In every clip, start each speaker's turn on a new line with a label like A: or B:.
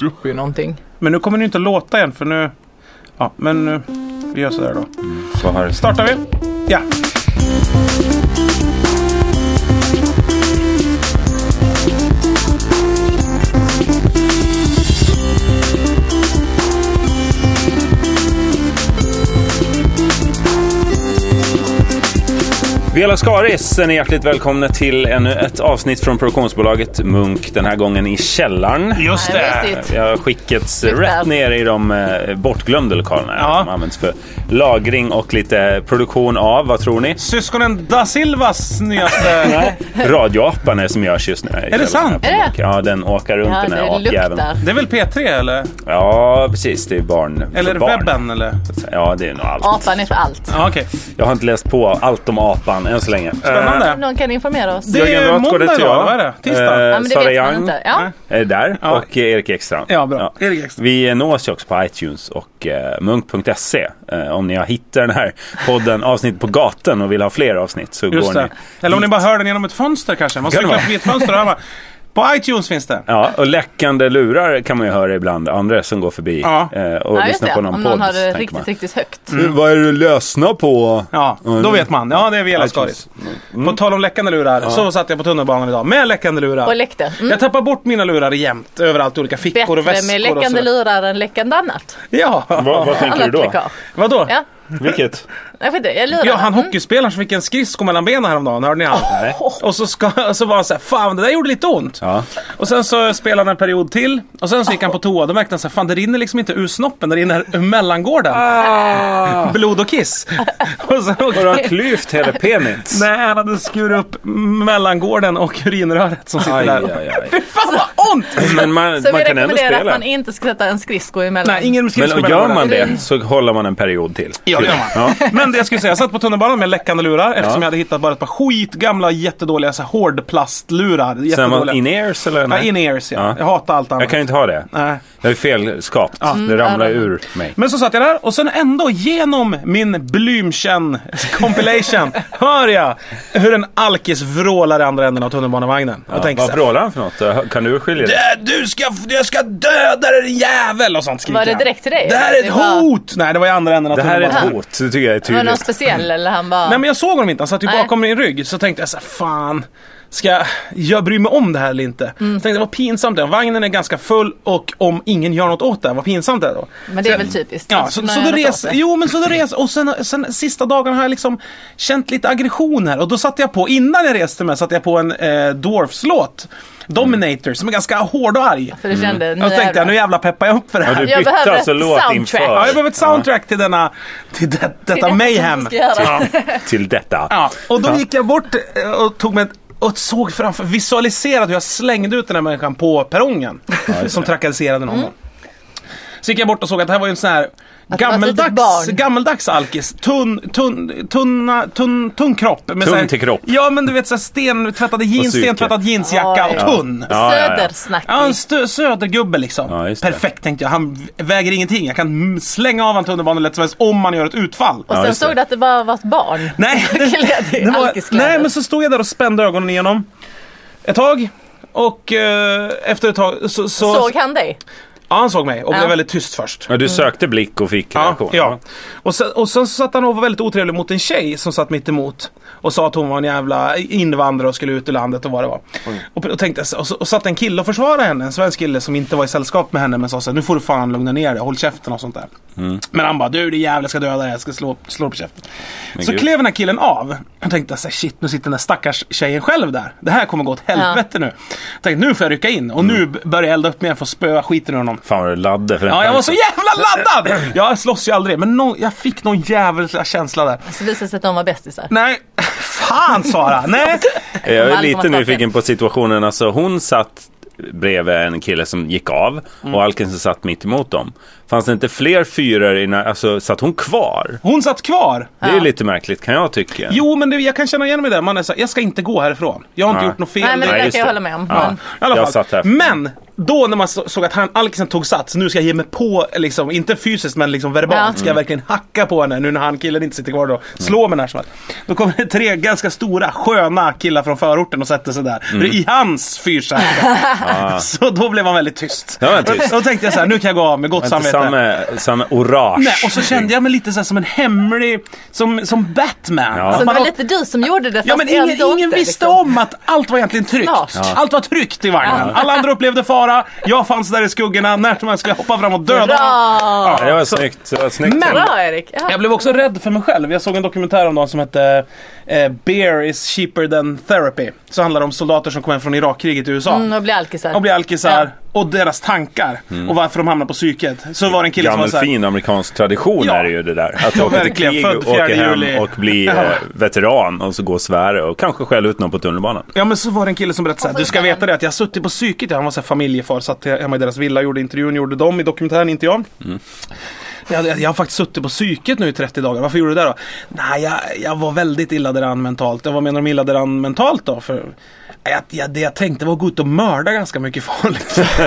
A: 50.
B: ju någonting.
C: Men nu kommer det inte att låta igen för nu... Ja, men nu... Vi gör sådär då.
D: Så här.
C: Startar vi? Ja.
D: Vela Skaris, är ni hjärtligt välkomna till ännu ett avsnitt från produktionsbolaget Munk. Den här gången i källaren.
C: Just
B: Nej,
C: det.
B: visst.
D: Vi har skickats
B: Just
D: rätt
B: det.
D: ner i de eh, bortglömda lokalerna här,
C: Ja.
D: som används för lagring och lite produktion av, vad tror ni?
C: Syskonen da Silvas nyaste...
D: Radioapan är det som görs just nu. här i
C: Är det
D: källaren
C: sant?
D: här på
B: Är det?
D: Munk. Ja, den åker runt
B: Ja,
D: den här
B: det
D: apjäveln.
B: luktar.
C: Det är väl P3 eller?
D: Ja, precis. Det är barn.
C: Eller
D: för barn.
C: webben eller?
D: Ja, det är nog allt.
B: Apan är för allt.
C: Ja, okej.
D: Jag har inte läst på allt om apan än så länge. Eh,
C: Spännande.
B: Om någon kan informera oss.
C: Det är
D: Jörgen Roth,
C: måndag
D: Gordetto,
C: idag, vad är det? Tisdag?
D: eh,
B: ja, men det
D: Sara
B: vet man
D: Young.
B: inte. Ja.
D: är där
C: Ja.
D: och eh, Erik Ekstrand.
C: Ja, bra. Erik Ekstrand.
D: Vi eh, nås ju också på iTunes och eh, munk.se. Eh, om ni har hittat den här podden avsnitt på gatan och vill ha fler avsnitt så
C: Just
D: går
C: det.
D: ni
C: Eller om ni
D: dit.
C: bara hör den genom ett fönster kanske. Man
D: Kan det
C: cyklar
D: vara?
C: förbi ett fönster och hör bara, På iTunes finns det.
D: Ja, och läckande lurar kan man ju höra ibland. Andra som går förbi
C: Ja.
D: eh, och
B: Ja, just
D: lyssnar
B: det.
D: på
B: Om
D: någon
B: någon
D: podd.
B: har det
D: tänker
B: riktigt,
D: man.
B: riktigt högt.
D: Vad är det du lyssnar på?
C: Ja, då vet man. Ja, det är Vela
D: iTunes.
C: Skaris. På tal om läckande lurar, så satt jag på tunnelbanan idag med läckande lurar.
B: Och läckte. Mm.
C: Jag tappar bort mina lurar jämt överallt, olika fickor och
B: Bättre
C: väskor
B: med
C: och
B: läckande
C: sådär.
B: lurar än läckande annat.
C: Ja,
D: Vad, vad tänker du
B: Annat
D: då?
B: läckage.
C: vadå?
B: Ja,
D: Vilket?
B: jag vet inte. Jag lurar.
C: Ja, han
D: Mm.
C: hockeyspelaren som fick en skridsko mellan benen häromdagen, hörde ni han?
D: Nej.
C: Och så, ska, så var han såhär, fan det där gjorde lite ont.
D: Ja.
C: Och sen så spelade han en period till och sen så gick han på toa, då märkte han såhär, fan det rinner liksom inte ur snoppen, det rinner ur mellangården.
D: Ah.
C: Blod och kiss. och sen åkte
D: Har du klyvt hela penis?
C: Nej, han hade skurit upp mellangården och urinröret som sitter
D: Aj,
C: där.
D: aj, aj.
C: Fy fan vad ont!
D: Men man,
B: Så
D: man
B: vi
D: kan ändå
B: rekommenderar att
D: spela.
B: man inte ska sätta en skridsko emellan.
C: Nej, ingen
D: Men
C: skridsko
D: gör
C: mellan
D: man
C: båda.
D: det så håller man en period till.
C: Ja, det gör man.
D: Ja.
C: Men det jag skulle säga, jag satt på tunnelbanan med läckande lurar eftersom
D: Ja.
C: jag hade hittat bara ett par skitgamla jättedåliga så här, hårdplastlurar.
D: Sen är man
C: Jättedåliga.
D: in-ears eller?
C: Ja,
D: Nej?
C: in-ears ja.
D: Ja.
C: Jag hatar allt annat.
D: Jag kan inte ha det.
C: Nej.
D: Jag är felskapt. Det ramlar ur mig.
C: Men så satt jag där och sen ändå genom min Blümchen compilation hör jag hur en alkis vrålar i andra änden av tunnelbanevagnen. Jag tänker så
D: Vad
C: här,
D: vrålar han för något? Kan du skilja det?
C: "Äh, du ska, jag ska döda dig din jävel och sånt skriker
B: Var det
C: han.
B: direkt till dig?
C: Det här är ett
B: Det var-
C: hot! Nej det var i andra änden av
D: Det här är
C: tunnelbanan.
D: ett hot. Det tycker jag är
B: Var det någon
D: tydligt.
B: speciell eller han bara...
C: Nej men jag såg honom inte, han satt ju
B: Nej.
C: bakom min rygg. Så tänkte jag så här, fan. Ska jag- jag bry mig om det här eller inte?
B: Mm.
C: Så tänkte jag, vad pinsamt det är. Vagnen är ganska full och om ingen gör något åt det, vad pinsamt det är då.
B: Men det är väl typiskt.
C: Ja,
B: Alltså,
C: så,
B: man
C: så
B: gör
C: då
B: något åt
C: res,
B: det.
C: jo men så då res, och sen, sen sista dagarna har jag liksom känt lite aggression här och då satte jag på, innan jag reste mig satte jag på en eh, Dwarfs-låt, Dominator, som är ganska hård och arg.
B: För du kände, nu
C: Jag tänkte
B: jävlar.
C: nu jävla peppar jag upp för det här.
D: Ja, du
B: Jag
D: bytte
B: behöver
D: alltså
B: ett
D: låt
B: soundtrack.
D: inför.
C: Ja, jag behöver ett soundtrack till denna, till det, detta
B: som
C: mayhem.
B: du ska göra.
D: Till detta.
C: Ja, och då gick jag bort eh, och tog mig ett- och såg framför, visualiserade hur jag slängde ut den här människan på perrongen.
D: det.
C: som trakasserade någon. Så gick jag bort och såg att det här var ju en sån här
B: det var ett litet
C: gammeldags,
B: barn.
C: gammeldags alkis. Tunn, tunn, tunna, tunn, tunn kropp. Med
D: Tunn
C: så här-
D: till kropp.
C: Ja men du vet såhär stentvättade jeans,
D: psyke.
C: stentvättad jeansjacka
B: Oj.
C: och tunn. Ja.
D: Ja, ja, ja.
B: Södersnackig.
C: en stö- södergubbe liksom.
D: Ja, just det.
C: Perfekt tänkte jag. Han v- väger ingenting. Jag kan mm, slänga av honom tunnelbanan lätt som helst om man gör ett utfall.
B: Och
D: Ja,
B: sen
D: just
B: såg
D: det.
B: du att det bara var ett barn.
C: Nej,
B: Klädd i
C: det var,
B: alkiskläder.
C: nej men så stod jag där och spände ögonen igenom ett tag. Och eh, efter ett tag så, så
B: Såg han dig?
C: Ja, han såg mig och blev
B: Ja.
C: väldigt tyst först.
D: Ja, du sökte blick och fick
C: Ja,
D: reaktion.
C: ja. Och, sen, och sen så satt han och var väldigt otrevlig mot en tjej som satt mitt emot Och sa att hon var en jävla invandrare och skulle ut ur landet och vad det var. Och, och, tänkte, och, så- och satt en kille och försvarade henne, en svensk kille som inte var i sällskap med henne men sa så här, nu får du fan lugna ner dig, håll käften och sånt där. Men han bara, du det jävla jag ska döda dig, jag ska slå, slå på käften. Så
D: gud.
C: klev den här killen av. Jag tänkte så här, shit nu sitter den där stackars tjejen själv där. Det här kommer gå åt helvete nu. Jag tänkte nu får jag rycka in och nu b- börjar jag elda upp mig för att spöa skiten ur honom.
D: Fan vad du laddade för den
C: Ja, jag var så
D: chansen.
C: jävla laddad! Jag slåss ju aldrig, men nå- jag fick någon jävla känsla där.
B: Så Alltså, visade det sig att de var bästisar.
C: Nej, fan Sara! Nej!
D: Jag är
B: Malcolm
D: lite
B: har startat.
D: nyfiken på situationen. Alltså, hon satt bredvid en kille som gick av
C: Mm.
D: och Alkensen satt mitt emot dem. Fanns det inte fler fyror i när, alltså satt hon kvar?
C: Hon satt kvar.
D: Det är ju lite märkligt kan jag tycka.
C: Jo, men det, jag kan känna igen mig där. Man är så här, jag ska inte gå härifrån. Jag har inte
D: Nej.
C: gjort något fel.
B: Nej men det
D: Nej,
B: där
D: just
B: kan jag
D: det.
B: hålla med om.
D: Ja.
B: Men,
C: I alla
D: Jag
C: fall.
D: satt här.
C: Men då när man så- såg att han, Alkisen tog sats, nu ska jag ge mig på, liksom, inte fysiskt men liksom verbalt,
B: Ja.
C: ska jag verkligen hacka på henne nu när han killen inte sitter kvar då. Slå mig när som helst. Då kommer det tre ganska stora sköna killar från förorten och sätter sig där.
D: Mm.
C: I hans fyrsäte. Så då blev han väldigt tyst.
D: Då var han Ah. tyst.
C: Då tänkte jag så här, nu kan jag gå av med gott
D: Men inte
C: samvete.
D: samma, samma orage.
C: Nej, och så kände jag mig lite så här som en hemlig, som, som Batman.
D: Ja.
C: Att
B: Så det
C: man
B: var
C: har-
B: Alltså, lite du som gjorde det fast
C: Ja men
B: ändå
C: ingen, ingen
B: inte,
C: visste
B: liksom.
C: om att allt var egentligen tryggt.
B: Snart.
C: Allt var tryggt i vagnen. Alla andra upplevde fara. Jag fanns där i skuggorna när som helst skulle jag hoppa fram och döda honom.
B: Bra!
D: Ja, det var snyggt. Det var snyggt.
C: Men-
B: Bra Erik! Ja.
C: Jag blev också rädd för mig själv. Jag såg en dokumentär om någon som hette eh, Beer is cheaper than therapy. Så handlar det om soldater som kom hem från Irakkriget i USA.
B: Mm, och blir alkisar.
C: Och blir alkisar. Och deras tankar. Och varför de hamnar på psyket. Så var det en kille som var
D: Gammal
C: såhär.
D: fin amerikansk tradition
C: Ja.
D: är det ju det där. Att åka till
C: verkligen.
D: krig,
C: Född
D: åka
C: 4
D: hem
C: juli.
D: och bli eh, veteran och så gå och svära och kanske skälla ut någon på tunnelbanan.
C: Ja men så var det en kille som berättade såhär,
B: Och
C: du ska
B: skjuten.
C: veta det att jag har suttit på psyket, han var såhär familjefar, satt hemma i deras villa, gjorde intervjun, gjorde de i dokumentären, inte jag. Jag, jag, jag har faktiskt suttit på psyket nu i 30 dagar, varför gjorde du det då? Nej, jag, jag var väldigt illa däran mentalt. Ja, Vad menar du med illa däran mentalt då? För, jag, jag, det jag tänkte var att gå ut och mörda ganska mycket folk.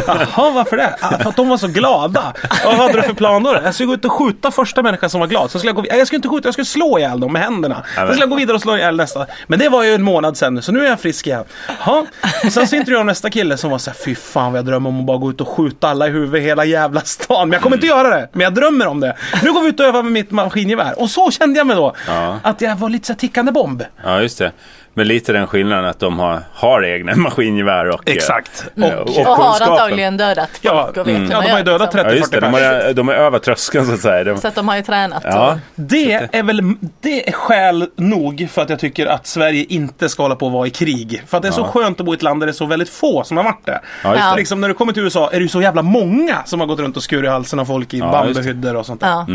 C: Jaha, varför det? Ah, för att de var så glada. Vad hade du för plan då? Jag skulle gå ut och skjuta första människan som var glad. Sen skulle jag, gå, jag skulle inte skjuta, jag skulle slå ihjäl dem med händerna. Sen skulle jag gå vidare och slå ihjäl nästa. Men det var ju en månad sen nu, så nu är jag frisk igen. Jaha. Och sen så intervjuade jag nästa kille som var så här, fy fan vad jag drömmer om att bara gå ut och skjuta alla i huvudet i hela jävla stan. Men jag kommer inte göra det, men jag drömmer om det. Nu går vi ut och övar med mitt maskingevär. Och så kände jag mig då.
D: Ja.
C: Att jag var lite så här tickande bomb.
D: Ja, just det. Men lite den skillnaden att de har, har egna maskingevär och... eh,
C: Och,
D: Och,
B: och har
D: kunskapen.
B: antagligen dödat folk
C: ja, mm.
B: och vet hur
C: ja,
B: man
C: de har ju
B: gör,
C: dödat 30-40
B: liksom.
D: Ja, just det. De
C: personer.
D: har, de har över tröskeln så att säga. De,
B: Så att de har ju tränat.
D: ja.
C: Det är väl det är skäl nog för att jag tycker att Sverige inte ska hålla på att vara i krig. För att det är så skönt att bo i ett land där det är så väldigt få som har varit det.
D: Ja, just
B: Ja.
D: det.
C: Liksom när du kommer till USA är det ju så jävla många som har gått runt och skurit halsen av folk i
D: just det.
C: bambuhyddor och sånt där.
B: Ja.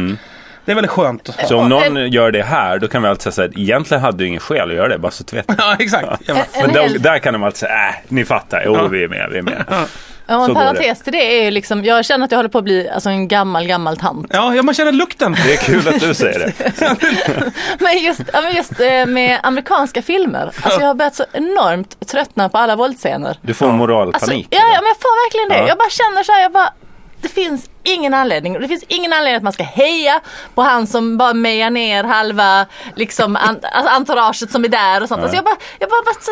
C: Det är väldigt skönt.
D: Så om någon gör det här, då kan vi alltid säga så här, egentligen hade du ingen skäl att göra det, bara så att du vet.
C: Ja, exakt. Jävla
B: En
D: Men
B: hel-
D: då, där kan de alltid säga, äh, ni fattar, jo vi är med, vi är med.
B: Ja,
D: Så
B: en
D: går det.
B: parentes till det är ju liksom, jag känner att jag håller på att bli alltså, en gammal, gammal tant.
C: Ja, ja, man känner lukten.
D: Det är kul att du säger det.
B: Men just, ja, men just eh, med amerikanska filmer, alltså jag har börjat så enormt tröttna på alla våldsscener.
D: Du får
B: Alltså, ja,
D: moralpanik.
B: ja, men jag får verkligen det.
D: Ja.
B: Jag bara känner så här, jag bara, det finns ingen anledning. Det finns ingen anledning att man ska heja på han som bara mejar ner halva liksom, an, alltså entouraget som är där och sånt. Alltså, jag bara, jag bara, bara så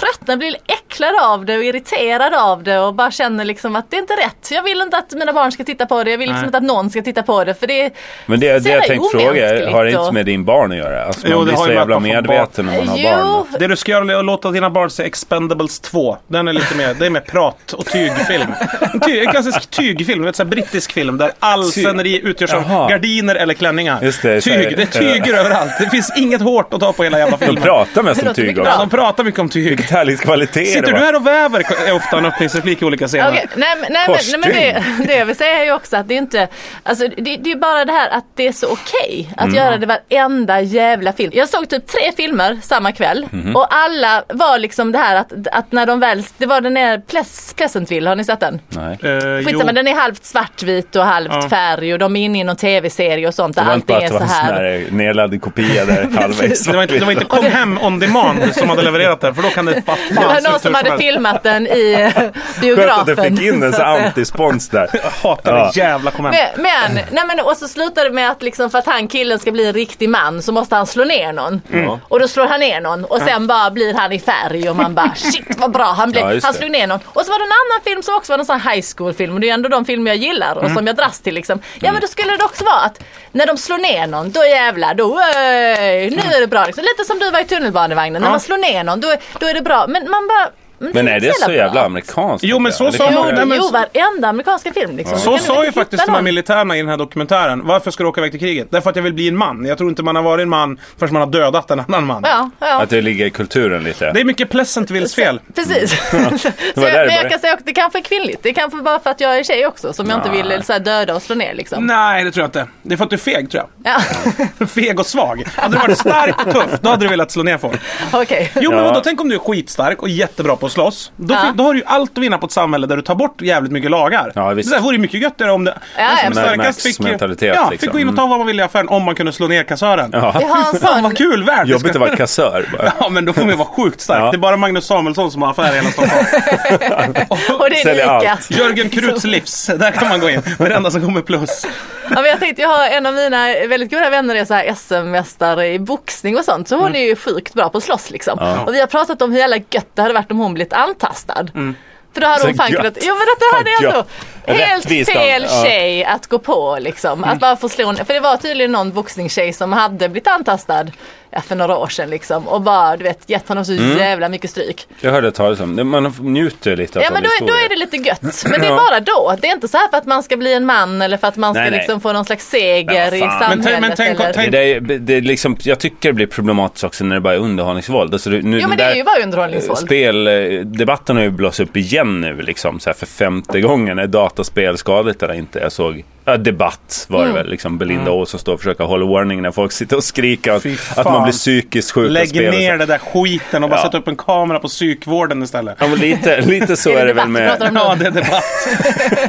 B: tröttnar, blir äcklad av det och irriterad av det och bara känner liksom att det är inte rätt. Jag vill inte att mina barn ska titta på det. Jag vill liksom
C: Nej.
B: inte att någon ska titta på det. För det är
D: Men det,
B: så
D: det jag
B: jävla
D: tänkte fråga är,
B: omänskligt
D: har det inte
B: och-
D: med din barn att göra? Alltså, man
C: Jo, det
D: blir
C: har
D: så
C: ju med
D: jävla
C: att man får
D: medveten när man har barn.
B: Jo,
C: Det du ska göra är att låta dina barn se Expendables 2. Den är lite mer, det är mer prat och tygfilm. En, ty, en klassisk tygfilm, vet, så här brittisk film där all
D: Tyg.
C: sceneri utgörs av
D: Jaha.
C: gardiner eller klänningar.
D: Just det, så är
C: tyg,
D: det.
C: det är tyger överallt. Det finns inget hårt att ta på hela jävla
D: De
C: filmen.
D: pratar mest
B: Det
D: om
B: låter
D: tyg
B: mycket
D: också.
B: bra.
C: De pratar mycket om tyg.
D: Vilket härligt kvalitet
C: Sitter
D: det
C: du
D: var.
C: här och väver är ofta en öppningsreplik i olika scener.
B: Okej, Nej, men- nej, men, nej, men det,
D: Korsstygn.
B: det jag vill säga är ju också att det är inte, alltså det, det är bara det här att det är så okej att
D: Mm.
B: göra det varenda jävla film. Jag såg typ tre filmer samma kväll
D: Mhm.
B: och alla var liksom det här att, att när de väl, det var den där Ples- Pleasantville, har ni sett den?
D: Nej.
C: Eh, jo.
B: Skitsamma, den är halvt svartvit och halvt
C: Ja.
B: färg och de är inne i någon tv-serie och sånt där
D: Det var inte
B: allting
D: bara
B: är
D: att det
B: så
D: var en sån
B: här.
D: här nedladdad kopia där halvvägs.
C: Det var inte, det var inte Kom Hem On Demand som hade levererat den för då kan det fan
B: Det var någon
C: ut hur
B: som hade
C: helst.
B: filmat den i
D: Skönt
B: biografen.
D: att du fick in en
B: Så
D: sån
B: att, eh,
D: antispons där.
C: Jag hatar det jävla Kom Hem.
B: Men, men, nej men och så slutar det med att liksom för att han killen ska bli en riktig man så måste han slå ner någon.
D: Mm.
B: Och då slår han ner någon och sen bara blir han i färg och man bara shit vad bra han blev.
D: Ja, just
B: han
D: det.
B: slog ner någon. Och så var det en annan film som också var en sån här high school film och det är ändå de filmer jag gillar
D: Mm.
B: och som jag dras till liksom. Ja men då skulle det också vara att när de slår ner någon då jävlar då öj,
D: Mm.
B: nu är det bra. Liksom. Lite som du var i tunnelbanevagnen. När man slår ner någon då, då är det bra. Men man bara
D: Men är det
B: finns
D: så
B: jävla
D: jävla
B: bra.
D: amerikanskt?
C: Jo, men så
D: Eller
C: sa
D: kan
C: man-
D: det-
C: Nej, men-
B: Jo, varenda amerikanska film liksom.
C: Så
B: Kan du
C: sa
B: inte
C: ju
B: hitta
C: faktiskt de här
B: någon?
C: militärerna i den här dokumentären. Varför ska du åka iväg till kriget? Därför att jag vill bli en man. Jag tror inte man har varit en man förrän man har dödat en annan man.
B: Ja, ja.
D: Att det ligger i kulturen lite.
C: Det är mycket Pleasantvilles fel.
B: Precis. så
D: var där det
B: jag, men
D: började.
B: jag kan säga också, det kanske är kvinnligt. Det kanske bara för att jag är tjej också som jag inte
D: Nej.
B: vill så här, döda och slå ner liksom.
C: Nej, det tror jag inte. Det är för att du är feg, tror
B: Ja.
C: jag. Feg och svag. Hade du varit stark och tuff, då hade du velat slå ner folk.
B: Okej.
C: Jo, men
D: Ja.
C: vadå? Tänk om du är skitstark och jättebra på att och slåss, då,
B: Ja.
C: fin- då har du ju allt att vinna på ett samhälle där du tar bort jävligt mycket lagar.
D: Ja, visst.
C: det där vore ju mycket göttigare om det...
B: ja.
C: den som är
B: Mad
C: starkast fick, ju-
D: Max-mentalitet,
C: ja,
D: liksom.
C: fick gå in och ta vad man ville i affären om man kunde slå ner kassören.
B: Vi
D: Ja.
B: har en
C: Fan
B: sån
C: vad kul värld! det
D: Jobbigt
C: ska-
D: att vara kassör bara.
C: Ja men då får man ju vara sjukt stark.
D: Ja.
C: Det är bara Magnus Samuelsson som har affär i hela Stockholm.
B: och det är
D: Säljer
B: lika.
D: allt.
C: Jörgen Krutz livs, där kan man gå in. Varenda som kommer plus.
B: Ja, men jag tänkte, jag har en av mina väldigt goda vänner är så här SM-mästare i boxning och sånt. Så hon är ju sjukt bra på att slåss liksom.
D: Mm. Ja.
B: Och vi har pratat om hur jävla gött det hade varit om hon blivit antastad. För då
D: Mm.
B: hade
D: Så
B: hon fan
D: gött.
B: kunnat, jo men det hade
D: Fan,
B: jag ändå
D: gött.
B: helt
D: Rättvist av-
B: fel
D: ja. Mm.
B: tjej att gå på liksom. Att bara få slå en, för det var tydligen någon boxningstjej som hade blivit antastad ja, för några år sedan liksom. Och bara du vet gett honom så
D: Mm.
B: jävla mycket stryk.
D: Jag hörde talas om det. Man njuter lite av
B: Ja men
D: sån
B: då, är- då
D: historia.
B: är det lite gött. Men det är
D: Ja.
B: bara då. Det är inte så här för att man ska bli en man eller för att man ska
D: Nej, nej.
B: liksom få någon slags seger
D: Men vad
B: i
D: fan.
B: samhället.
C: Men tänk- men tänk-
B: eller...
C: tänk-
D: Det där, är- det är liksom, jag tycker det blir problematiskt också när det bara är underhållningsvåld. Alltså, nu,
B: Jo
D: den
B: men det
D: där- eh,
B: är ju bara underhållningsvåld.
D: Speldebatten har ju blåst upp igen nu liksom, så här för femte gången. Är dataspel skadligt eller inte? Jag såg ja, debatt var
B: Mm.
D: det väl. Liksom Belinda Olsson står och försöker hålla warning när folk sitter och skriker
C: Mm. Fy
D: att,
C: fan.
D: att man blir psykiskt sjuk av
C: Lägg
D: spel. och så.
C: ner det där skiten och bara
D: Ja.
C: sätt upp en kamera på psykvården istället.
D: Ja, men lite, lite så
B: Är det
D: är det väl
B: debatt vi pratar
D: med
B: om?
C: Ja, det är debatt.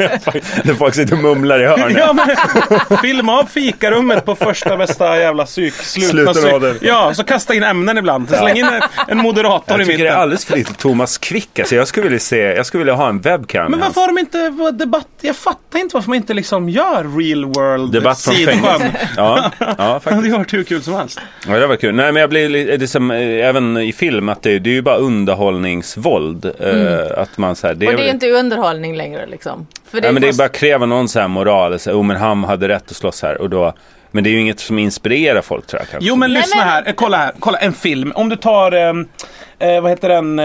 D: när folk sitter och mumlar i hörnet.
C: Ja, men, filma av fikarummet på första bästa jävla psyk. Slutna
D: Slutrader.
C: psyk. Ja, så kasta in ämnen ibland. Släng in en, en moderator
D: Jag
C: i
D: tycker det är
C: mitten.
D: alldeles för lite Thomas Quick. Alltså, jag, skulle vilja se, jag skulle vilja ha en webcam.
C: Men
D: i hans-
C: varför har de inte vad, debatt? Jag fattar inte varför man inte liksom gör real world
D: Debatt från
C: sidskärm.
D: fängelse. Ja, ja,
C: Det
D: faktiskt.
C: hade ju varit hur kul som helst.
D: Ja, det var kul. Nej, men jag blir li- liksom, eh, även i film, att det, det är ju bara underhållningsvåld. eh, Att man så här, det
B: Mm. Och det
D: väl-
B: är inte underhållning längre liksom. För
D: Nej, men det är
B: fast-
D: bara kräva någon så här moral, så här, oh, men han hade rätt att slåss här. Och då, men det är ju inget som inspirerar folk tror jag. Kanske.
C: Jo men
B: Nej,
C: lyssna
B: men-
C: här, Eh, kolla här, kolla en film. Om du tar, ehm, eh, vad heter den,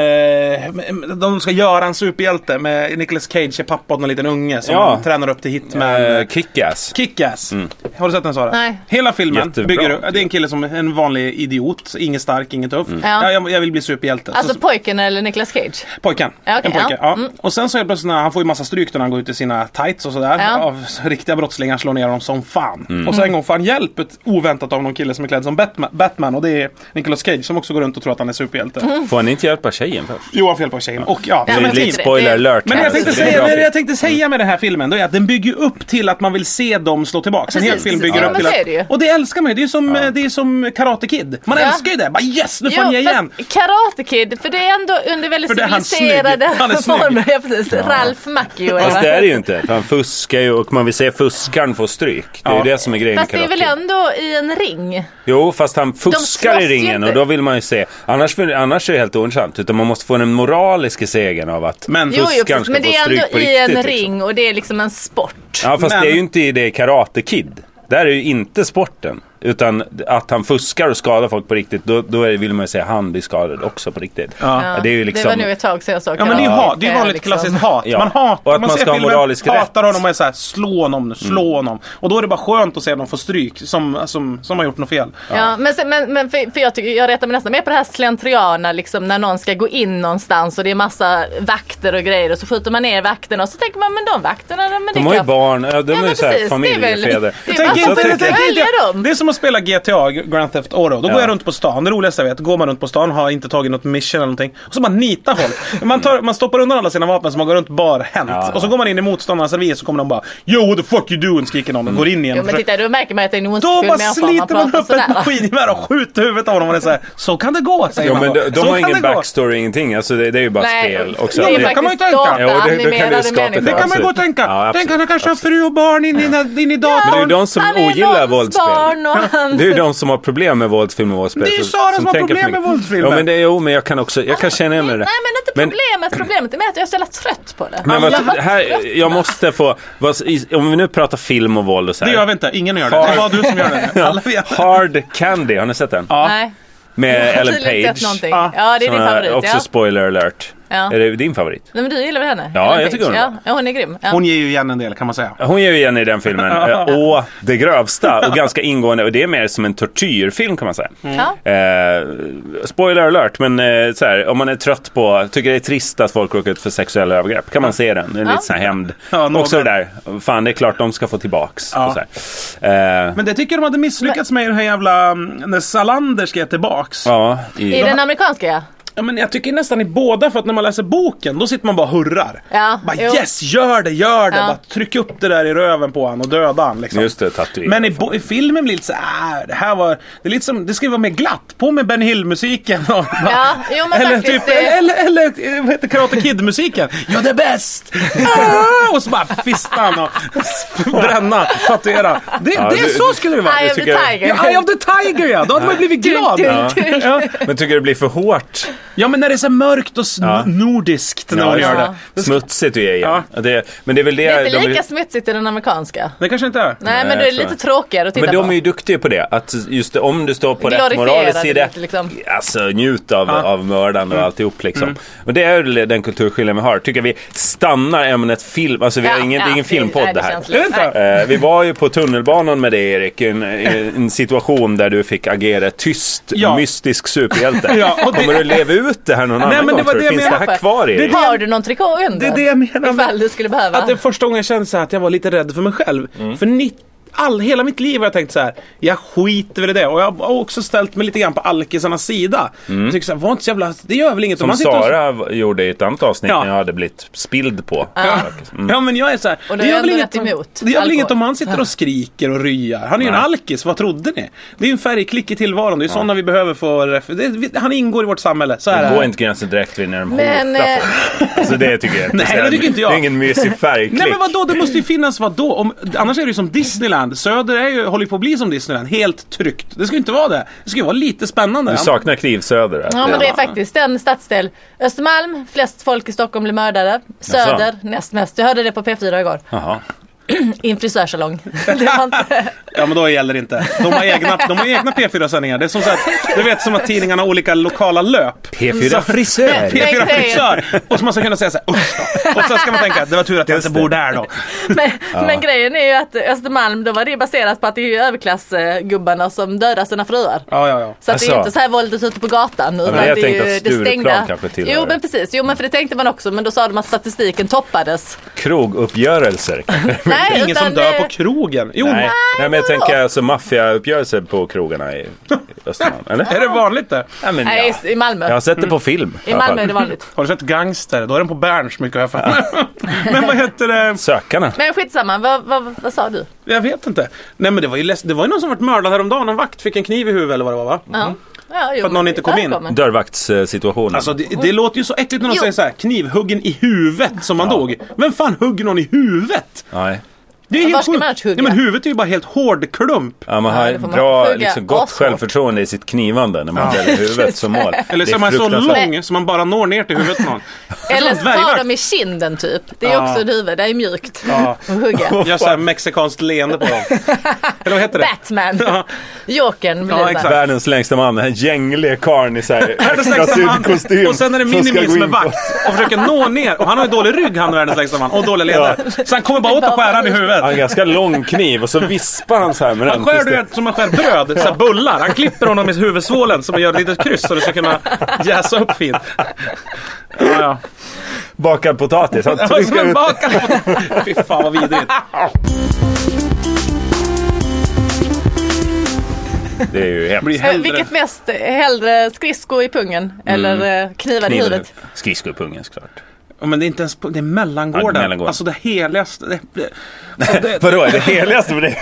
C: eh, de ska göra en superhjälte med Nicolas Cage är pappa åt en liten unge som
D: Ja.
C: tränar upp till hitman.
D: Eh, Kick-ass.
C: Kick-Ass. Har du sett den Sara?
B: Nej.
C: Hela filmen
D: Jättebra.
C: bygger upp, det är en kille som är en vanlig idiot, inget stark, inget tuff.
B: Mm. Ja.
C: Ja, jag, jag vill bli superhjälte. Så-
B: Alltså pojken eller Nicolas Cage?
C: Pojken.
B: Ja, okej,
C: en pojke.
B: ja.
C: Ja.
B: Mm.
C: Och sen så helt plötsligt när han får ju massa stryk när han går ut i sina tights och sådär.
B: Ja.
C: Av riktiga brottslingar slår ner honom som fan.
D: Mm.
C: Och så en gång får han hjälp ett- oväntat av någon kille som är klädd som Batman, Batman och det är Nicolas Cage som också går runt och tror att han är superhjälte.
B: Mm.
D: Får han inte hjälpa tjejen först?
C: Jo, han får hjälp av tjejen. Och ja, som
B: Ja,
D: det
C: en
D: är
B: men
C: team.
D: lite
B: det-
D: spoiler
B: det-
D: alert.
C: Men det
D: här,
C: jag tänkte
D: så det är
C: säga,
D: bra
C: det
D: film.
C: jag tänkte säga med den här filmen, då är att den bygger ju upp till att man vill se dem slå tillbaka. En hel
B: Precis.
C: film bygger
B: Ja,
C: upp
B: men
C: till
B: så är det ju.
C: att... Och det älskar man ju. Det är ju som, eh, det är som Karate Kid. Man
B: Ja.
C: älskar ju det. Bara yes, nu får
B: Jo,
C: ni igen.
B: fast Karate Kid, för det är ändå under väldigt
C: För det är han snygg.
B: civiliserade
C: Han är snygg.
B: former. Ja, precis. Ralf Macchio.
D: Fast
B: eller
D: det
B: vad?
D: är det ju inte. för Han fuskar ju och man vill se fuskaren få stryk. Det är
C: Ja.
D: ju det som är grejen
B: Fast
D: med
B: det är väl
D: karate.
B: ändå i en ring?
D: Jo, fast han
B: slåss
D: fuskar
B: ju
D: i ringen
B: inte.
D: och då vill man ju se. Annars, annars är det helt ointressant. Utan man måste få den moraliska segern av att
C: Men-
B: Jo, jo,
D: fuskaren
B: precis.
D: ska
B: Men
D: få
B: det är
D: stryk
B: ändå
D: på
B: i en
D: riktigt, liksom.
B: ring och det är liksom en sport.
D: Ja fast
C: Men-
D: det är ju inte i det Karate Kid. Där är ju inte sporten. Utan att han fuskar och skadar folk på riktigt. Då, då är, vill man ju säga han blir skadad också på riktigt.
C: Ja.
B: Ja,
D: det är ju
B: det var
D: liksom...
B: nog ett tag sedan jag sa
C: Ja men det är ju,
B: Karate
C: hat, det är ju
B: Kid,
C: vanligt
B: liksom.
C: klassiskt hat.
D: Ja.
C: Man hatar,
D: Och att man
C: ser
D: ska ha
C: filmen,
D: moralisk
C: hatar
D: rätt. Mm.
C: honom och är såhär slå honom nu, slå honom. Och då är det bara skönt att se dem få stryk som, som, som har gjort något fel.
B: Ja, men, sen, men, men för, för jag, tycker, jag retar mig nästan mer på det här slentriana liksom, när någon ska gå in någonstans och det är massa vakter och grejer och så skjuter man ner vakterna och så tänker man men de vakterna de, men det
D: De har ju
B: kan-
D: barn, ja, de
B: Ja,
D: är
B: men
D: ju såhär
B: precis, det är väl-
D: familjefäder.
B: det är
D: Så
B: väl-
D: jag
B: varför
D: Alltså, tänker-
B: inte? följa
C: jag-
B: dem?
C: det är som att spela GTA, Grand Theft Auto. Då
D: Ja.
C: går jag runt på stan, det roligaste jag vet. Går man runt på stan, har inte tagit något mission eller någonting. Och så bara nitar folk. Man, tar, man stoppar undan alla sina vapen så man går runt barhänt.
D: Ja, ja.
C: Och så går man in i motståndarnas revir så kommer de bara Yo what the fuck you doing skriker någon och går in igen.
B: Jo
C: och
B: men
C: försöker-
B: titta då märker man att det är en
C: då
B: ondskefull
C: bara
B: människa om man
C: sliter man
B: pratar
C: upp ett
B: sådär.
C: maskingevär och skjuter huvudet av honom. Och det är så, här, så kan det gå säger
D: Ja,
C: man
D: men
C: då.
D: de, de
C: så
D: har
C: kan
D: ingen
C: det gå.
D: backstory, ingenting. Alltså det, det är ju bara spel. Och så
B: det
D: att
B: är ju
C: det- kan man ju
B: faktiskt
C: tänka.
D: Ja, och det- då kan det ju
B: dataanimerade
D: skapa ett
B: människor.
C: Det kan man
D: Absolut.
C: ju gå och tänka.
D: Alltså, Ja, absolut.
C: Tänk han kanske har fru och barn in i, in i datorn.
D: Men det är ju de som
B: Han är
D: ogillar
B: någons
D: våldsspel.
B: barn och han...
D: Det är ju de som har problem med våldsfilm och våldsspel.
C: Det är ju
D: så-
C: Sara som har
D: tänker
C: problem
D: för mycket.
C: med våldsfilmer.
D: Ja, men det, jo, men jag kan också, jag kan känna igen mig i det.
B: Nej men inte
D: Men-
B: problemet, problemet är med att jag är så jävla trött på det.
D: Men
B: jag
D: vad, här, jag måste få, vad, i- om vi nu pratar film och våld och så
C: Det gör
D: här.
C: vi inte. Ingen gör det. Det är bara du som gör det. Alla vet.
D: Hard Candy, har ni sett den?
C: Ja.
B: Nej, jag
D: Med
B: har
D: Ellen
B: tydligen inte
D: Page.
B: sett någonting.
C: Ja.
B: Ja det är
D: Som
B: din favorit.
D: Också
B: ja.
D: spoiler alert.
B: Ja.
D: Är det din favorit?
B: Nej men du gillar väl henne?
D: Ja,
B: Ellen
D: jag
B: Page.
D: tycker hon är
B: ja.
D: bra.
B: ja, hon är grym. Ja.
C: Hon ger ju igen en del kan man säga.
D: Hon gör ju igen i den filmen, eh, å det grövsta och ganska ingående och det är mer som en tortyrfilm kan man säga.
C: Mm.
B: Ja.
D: Eh, spoiler alert, men eh, så här, om man är trött på, tycker det är trist att folk råkar ut för sexuella övergrepp, kan man se den. Det är
B: Ja.
D: lite så här hämnd.
C: Ja, någon-
D: Också det där, fan det är klart de ska få tillbaks.
C: Ja.
D: Och så här. Eh,
C: Men det tycker jag de hade misslyckats med i den här jävla... mm, När Salander ska tillbaks.
D: ja, i,
B: I den amerikanska ja.
C: Ja, men jag tycker nästan i båda, för att när man läser boken då sitter man bara och hurrar.
B: Ja,
C: bara
B: jo.
C: yes, gör det, gör det!
B: Ja.
C: Bara tryck upp det där i röven på han och döda han. Liksom.
D: Just det, tatuering.
C: Men i, bo- i filmen blir det lite så här, "Ah, det här var, det är lite som, det ska ju vara mer glatt. På med Ben Hill-musiken. och bara-
B: Ja, jo, men
C: eller,
B: faktiskt,
C: typ,
B: det-
C: eller, eller, eh, vad heter Karate Kid-musiken? You're the best! Ah! och så bara fista han och bränna, tatuera. Det,
D: Ja,
C: det,
D: det-
C: så skulle det vara.
B: Eye of the
D: tycker jag-
B: tiger.
C: Ja, Eye of the Tiger ja, då hade man ju blivit glad.
B: Ja.
C: Ja.
D: Men tycker du det blir för hårt?
C: Ja men när det är så mörkt och sn-
D: Ja.
C: nordiskt när
D: Ja,
C: man gör
D: just
C: det.
D: det. Smutsigt är igen.
C: Ja.
D: Ja. Det, men det är väl det...
B: Det är inte
D: de-
B: lika smutsigt i den amerikanska.
C: Det kanske inte är.
B: Nej,
D: Nej,
B: men det är
D: jag tror
B: lite
D: det.
B: tråkigare att titta
D: men de
B: på.
D: är ju duktiga på det. Att just det, om du står på rätt
B: Glorifierar
D: moralisk
B: det
D: sida.
B: lite, liksom.
D: Alltså njut av,
C: Ja. Mm.
D: av mördaren och alltihop liksom. Och det är ju den kulturskillnaden vi har. Tycker vi stannar ämnet film. Alltså vi har ingen, det är ingen filmpodd
B: nej,
D: det här.
B: känns
C: Är det
B: lite-
C: inte?
B: nej.
D: Eh, vi var ju på tunnelbanan med dig Erik. I en, i en situation där du fick agera tyst,
C: Ja.
D: mystisk superhjälte.
C: Ja, och det-
D: Kommer du leva ut det här någon annan
C: men det
D: gång?
C: var
D: tror du?
C: det
D: Finns
C: jag
D: det här
B: menade.
D: kvar Erik?
C: Det- det-
B: Har du någon trikå under?
C: Det är det jag menar.
B: Ifall du skulle behöva.
C: Att det är första gången jag kände så här att jag var lite rädd för mig själv.
D: Mm.
C: För ni, all, hela mitt liv har jag tänkt så här. jag skiter väl i det. Och jag har också ställt mig lite grann på alkisarnas sida. Jag tycker så här, var inte så jävla, det gör väl inget. om
D: Mm. Som
C: sitter och-
D: Sara gjorde i ett annat avsnitt
C: Ja.
D: när jag hade blivit spild på.
C: Ja.
D: Mm.
C: ja men jag är så här,
B: Och då
C: det
B: är
C: gör
B: jag
C: väl
B: ändå
C: inget,
B: rätt
C: om,
B: emot
C: det gör väl
B: alkohol.
C: inget om han sitter och skriker och ryar. Han är ju en
D: Nej.
C: alkis, vad trodde ni? Det är ju en färgklick i tillvaron, det är sådana vi behöver för... det, vi- han ingår i vårt samhälle, så här är
D: Gå
C: det.
D: inte gränsen direkt vid när de
B: Men,
D: hotar
B: eh,
D: folk. Alltså det tycker jag
C: Nej, det tycker inte jag.
D: Det är ingen mysig färgklick.
C: Nej men vadå, det måste ju finnas vadå? Om, annars är det ju som Disneyland. Söder är ju, håller ju på att bli som Disneyland, helt tryggt. Det ska ju inte vara det. Det ska ju vara lite spännande.
D: Du saknar knivsöder. alltså.
B: Ja men det är faktiskt den stadsdel. Östermalm, flest folk i Stockholm blir mördade. Söder, näst mest. Jag hörde det på P4 igår.
D: Jaha.
B: I en frisörsalong. Det var inte...
C: Ja men då gäller det inte. De har egna, de har egna P4-sändningar. Det är som så att, du vet som att tidningarna har olika lokala löp.
D: P4 frisör.
C: P4
B: Men grejen-
C: Frisör! Och så man ska kunna säga så här, usch då. Och sen ska man tänka, det var tur att jag inte bor där då.
B: men, men grejen är ju att Östermalm, då var det baserat på att det är ju överklassgubbarna som dödar sina fruar.
C: Ja, ja, ja.
B: Så att det är
D: Alltså.
B: inte så här våldet ute på gatan. utan
D: men jag
B: det är
D: tänkte
B: ju
D: att
B: det
D: Stureplan
B: stängda.
D: kanske tillhör
B: Jo
D: det.
B: men precis, jo men för det tänkte man också men då sa de att statistiken toppades.
D: Kroguppgörelser.
B: Nej,
C: Ingen som dör
B: eh,
C: på krogen. Jo,
D: Nej. Nej men jag tänker alltså maffiauppgörelser på krogarna i Östermalm. Eller?
C: är det vanligt det?
D: Ja, men,
B: Nej,
D: ja.
B: i Malmö.
D: Jag har sett det på film.
B: I Malmö är det vanligt.
C: Har du sett Gangster? Då är den på Berns mycket har jag för mig. Men vad heter det?
D: Sökarna.
B: Men skitsamma, vad, vad, vad sa du?
C: Jag vet inte. Nej men det var ju, läs- det var ju någon som vart mördad häromdagen. En vakt fick en kniv i huvudet eller vad det var va?
B: Ja. Ja, jo,
C: För att någon inte kom in.
B: välkommen.
D: Dörrvaktssituationen.
C: Alltså det, det låter ju så äckligt när de
B: Jo.
C: säger så här, knivhuggen i huvudet som man dog. Vem fan hugger någon i huvudet?
D: Nej.
C: Det är helt
B: var ska
C: sjukt.
B: man annars hugga?
C: Nej, men huvudet är ju bara helt hård klump.
D: Ja, man har
B: Ja, det får man
D: bra,
B: hugga
D: liksom, gott
B: ashårt.
D: självförtroende i sitt knivande när man väljer huvudet som mål.
C: Eller
D: Det
C: så är man så
D: fruktansvärt.
C: lång så man bara når ner till huvudet någon.
B: Eller
C: Som en dvärgvakt.
B: ta dem i kinden typ. Det är
C: Ja.
B: också ett huvud, det är mjukt.
C: Ja.
B: Att hugga.
C: Gör såhär mexikanskt leende på dem. Eller vad heter det?
B: Batman.
C: Ja.
B: Jokern blir
C: Ja,
B: det
C: exakt.
B: där.
D: Världens längsta man, den här gängliga karln i
C: Världens längsta man.
D: kostym.
C: Och sen är det Minimin som är vakt och försöker nå ner. Och han har ju dålig rygg han världens längsta man. Och dålig leder. Så han kommer bara åt att skära han i huvudet.
D: Han har en ganska lång kniv och så vispar han så här med den.
C: Han skär
D: tills
C: du
D: det-
C: vet, som man skär bröd, så här bullar. Han klipper honom i huvudsvålen så man gör ett litet kryss så det ska kunna jäsa upp fint. Ja, ja.
D: Bakad potatis. Han
C: Det var som
D: trycker
C: en
D: ut.
C: bakad potatis. Fy fan vad vidrigt.
D: Det är ju hemskt.
C: Blir
B: Eh,
C: hellre-
B: Vilket mest, eh, hellre skridsko i pungen eller
D: Mm.
B: eh, knivar i huvudet?
D: Skridskor i pungen såklart.
C: Ja, men det är inte ens på, det är mellangården.
D: Ja, det är mellangården.
C: Alltså det heligaste. Det, det, alltså det,
D: Vadå, är det heligaste med det?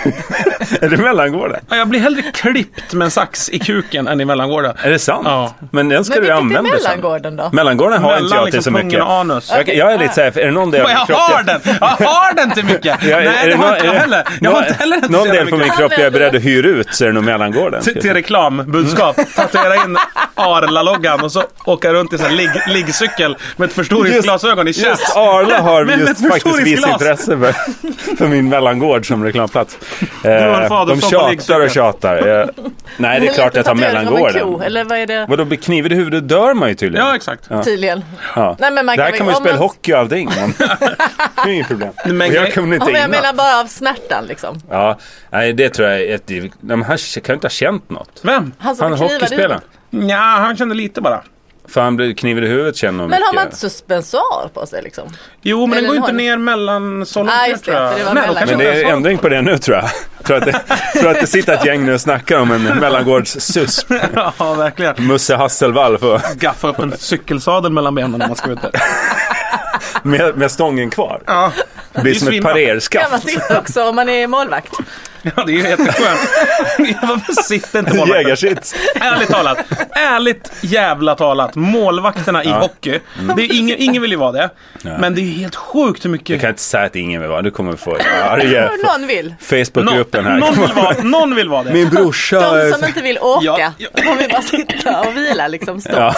D: är det mellangården?
C: Ja, jag blir hellre klippt med en sax i kuken än i mellangården.
D: Är det sant?
C: Ja.
D: Men den ska
B: Men
D: du
B: vilket är
D: använda sen.
B: mellangården då?
D: Mellangården har
C: Mellan
D: inte jag till så
C: liksom pungen
D: mycket.
C: och anus.
D: Jag, jag är lite såhär, är det någon del av
C: Vad, jag
D: min kropp jag-
C: har den! Jag har den till mycket!
D: Ja, är- är
C: Nej, det har
D: nå-
C: jag inte
D: är det-
C: heller. Jag har
D: nå-
C: inte heller den till
D: Någon
C: så jävla
D: del på min
C: mycket.
D: kropp jag är beredd att hyra ut så är det nog mellangården.
C: Till, till reklambudskap. Tatuera in Arla-loggan och så åka runt i så här ligg- liggcykel med ett förstoringsglasögon i
D: Just
C: chest.
D: Arla har
C: Men
D: just
C: ett
D: faktiskt visst
C: förstoringsglas.
D: intresse för, för min mellangård som reklamplats. Eh,
C: har en fader
D: de
C: som på
D: tjatar
C: liggcykeln.
D: och tjatar. Eh, nej, det är klart jag tar
B: Tatuering av en ko,
D: mellangården.
B: Eller vad är det?
D: Vadå, blir kniv i huvudet dör man ju tydligen.
C: Ja, exakt.
B: Tydligen.
D: Ja.
B: Nej, men man
D: det här
B: kan
D: kan man
B: väl-
D: ju
B: om
D: spela
B: man-
D: hockey och allting. Men... det är inget problem.
C: Men-
D: och jag kunde
B: Ja,
D: inte
B: men
D: innan.
B: jag menar bara av smärtan liksom.
D: Ja, nej, det tror jag är ett... Nej, men han kan ju inte ha känt något.
C: Vem?
B: Han som
D: Han
B: Alltså, knivar i huvudet.
D: hockeyspelaren.
C: Ja, han kände lite bara.
D: För han blir kniven i huvudet känner hon
B: Men har
D: mycket.
B: man inte suspensoir på sig liksom?
C: Jo, men den
B: Eller
C: går ju
B: har
C: inte
B: ni-
C: ner mellan Solna
B: Ah,
C: och
B: just det,
C: Björn, tror
B: för det var
C: jag. Nej, då
B: mellan-
C: kanske
D: Men det
C: inte
D: är
C: ens var-
D: ändring på det nu tror jag. Tror att det, tror att det sitter ett gäng nu och snackar om en mellangårds-susp.
C: Ja, verkligen.
D: Musse Hasselvall för,
C: Gaffa upp en cykelsadel mellan benen när man skjuter.
D: med, med stången kvar.
C: Ja,
D: Det blir som ett
C: svinbra.
B: Kan man
D: parerskaft.
B: sitta också om man är målvakt?
C: ja det är ju jätteskönt. Varför sitter inte målvakten?
D: Jägarsits.
C: Ärligt talat. Ärligt jävla talat. Målvakterna i hockey. Det är ingen, ingen vill ju vara det. Men det är ju helt sjukt hur
D: Du
C: mycket...
D: kan inte säga att ingen vill vara Du kommer få arga
B: Om någon vill.
D: Facebookgruppen här.
C: någon, vill vara, någon vill vara det.
D: Min brorsa.
B: De
D: är-
B: som inte vill åka.
C: Ja, ja.
B: De vill bara sitta och vila liksom. Stå.
D: Ja.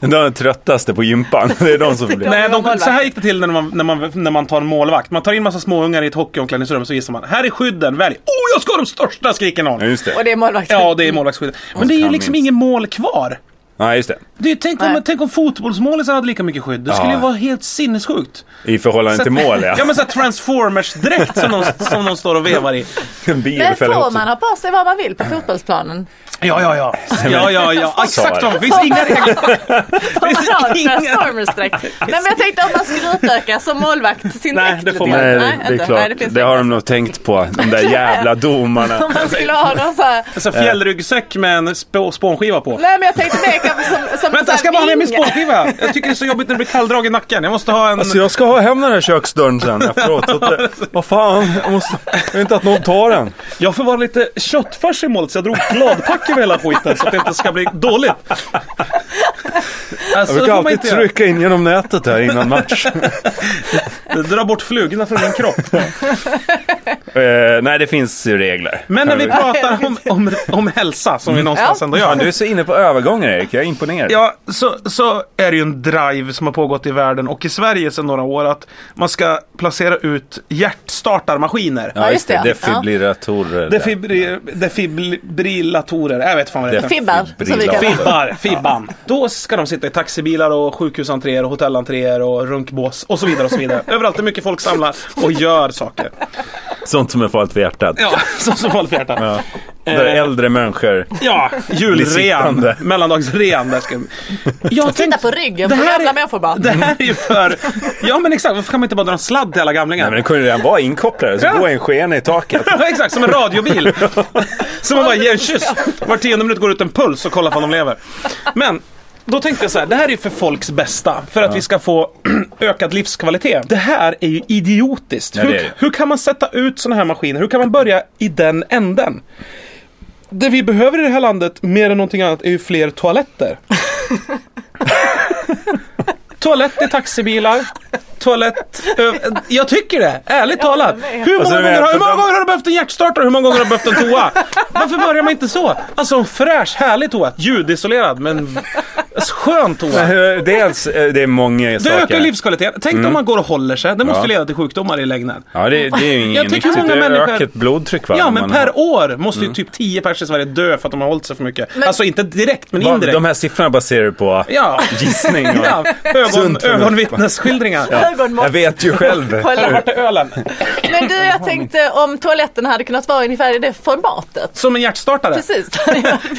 D: De är de tröttaste på gympan. Det är de som blir.
C: Nej,
B: vill vara
C: de, så här
B: målvakt.
C: gick det till när man, när, man, när man tar en målvakt. Man tar in massa småungar i ett hockeyomklädningsrum så gissar man. Här är skydden, välj! Oh, jag ska ha de största! skriker någon.
D: Ja, just
B: Och
D: det.
B: det är målvakten.
C: Ja, det är målvaktsskydden. Men det är ju
D: kan
C: liksom
D: minst.
C: ingen mål kvar.
D: Ja, just det.
C: Det är, ju- tänk, om,
B: Nej.
C: tänk om fotbollsmålisar hade lika mycket skydd. Det skulle ju
D: Ja.
C: vara helt sinnessjukt.
D: I förhållande till mål ja.
C: Ja men såhär transformers-dräkt som, de- som de står och vevar i.
D: En bil
B: Men
D: fäller
B: får
D: ihop sig.
B: man ha på sig vad man vill på fotbollsplanen?
C: Ja, ja, ja. Ja, ja, ja. Exakt de. Det finns inga regler.
B: Får man ha
C: Inga.
B: transformers-dräkt? Nej men jag tänkte om man skulle utöka som målvakt sin
C: Nej,
B: dräkt
C: det får
B: lite
C: man
D: Nej,
B: grann.
D: det, det
B: inte.
D: är klart.
B: Nej, finns
D: det har de
B: inte.
D: nog tänkt på. De där jävla domarna.
B: Om man skulle ha någon så här...
C: Så fjällryggsäck med en spå, spånskiva på.
B: Nej men jag tänkte mer kanske som, som
C: Vänta,
B: så här
C: jag ska bara ha med min
B: vingar.
C: spånskiva. Jag tycker det är så jobbigt när det blir kalldrag i nacken. Jag måste ha en...
D: Alltså jag ska ha hem den här köksdörren sen efteråt. Så att det, vad fan, jag, måste, jag vill inte att någon tar den.
C: Jag får vara lite köttfärs i målet så jag drog gladpack över hela skiten så att det inte ska bli dåligt. Alltså,
D: Jag
C: det
D: brukar
C: får man
D: alltid
C: inte göra.
D: trycka in genom nätet här innan match.
C: Dra bort flugorna från min kropp.
D: Eh, nej, det finns ju regler.
C: Men när vi pratar om, om, om hälsa, som vi någonstans
B: Ja.
C: ändå
D: Fan,
C: gör.
D: du är så inne på övergångar Erik, jag är imponerad.
C: Ja, så, så är det ju en drive som har pågått i världen och i Sverige sedan några år att man ska placera ut hjärtstartarmaskiner.
D: Ja, just
B: just
D: det.
B: det.
D: Defibrillatorer.
C: Defibri- defibrillatorer, jag vet fan vad det heter.
B: Fibbar, som vi kallar det.
C: Fibbar, Fibban. Då ska de sitta i taxibilar och sjukhusentréer och hotellentréer och runkbås och så vidare och så vidare. Överallt är mycket folk samlar och gör saker.
D: Sånt som är farligt för hjärtat.
C: Ja, så som folk hjärta. Ja,
D: Där äldre människor.
C: julrean.
D: sittande.
C: Mellandagsrean. Där ska... Jag
B: Titta
C: tänkte-
B: på ryggen
C: Det
B: på
C: här
B: gamla
C: är-
B: människor bara.
C: Det här är ju för... Ja men exakt, varför kan man inte bara dra en sladd till alla gamlingar?
D: Nej men det kunde ju redan vara inkopplade, så
C: Ja.
D: gå en sken i taket.
C: Ja, exakt, som en radiobil. Som man bara ger en kyss. Var tionde minut går ut en puls och kollar om de lever. Men då tänkte jag så här, det här är ju för folks bästa. För att vi ska få ökad livskvalitet. Det här är ju idiotiskt.
D: Ja, det är
C: hur,
D: det.
C: hur kan man sätta ut sådana här maskiner? Hur kan man börja i den änden? Det vi behöver i det här landet mer än någonting annat är ju fler toaletter. Toalett i taxibilar. Toalett... ö- Jag tycker det, ärligt talat.
B: med.
C: Hur
D: Alltså,
C: många,
D: det
C: gånger,
D: är-
C: har- hur många gånger har du behövt en hjärtstartare? Hur många gånger har du behövt en toa? Varför börjar man inte så? Alltså en fräsch, härlig toa. Ljudisolerad, men alltså, skön toa.
D: Eh, Dels, eh, det är många
C: Det
D: saker. Mm.
C: ökar livskvaliteten. Tänk om man går och håller sig. Det måste
D: Ja.
C: leda till sjukdomar i längden.
D: Ja, det, det är ju ingen
C: Jag tycker
D: nyttigt. Det
C: många människor-
D: ökat blodtryck va?
C: Ja,
D: om
C: men
D: man
C: per
D: har- Mm.
C: år måste ju typ 10 personer i Sverige dö för att de har hållit sig för mycket.
B: Men-
C: Alltså inte direkt, men
D: Va-
C: indirekt.
D: De här siffrorna baserar du på
C: Ja.
D: gissning. och-
C: Ja, ögon,
D: Sunt förnuft.
C: ögonvittnesskildringar. Ja.
D: Jag vet ju själv.
B: Kolla.
C: Vart är ölen?
B: Men du jag tänkte om toaletten hade kunnat vara ungefär i det formatet.
C: Som en hjärtstartare?
B: Precis.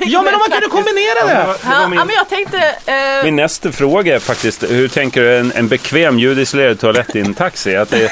C: Ja, men om man kunde kombinera det!
B: Ja, ja, men jag tänkte... Eh,
D: Min nästa fråga är faktiskt, hur tänker du en, en bekväm ljudisolerad toalett i en taxi? Att, det,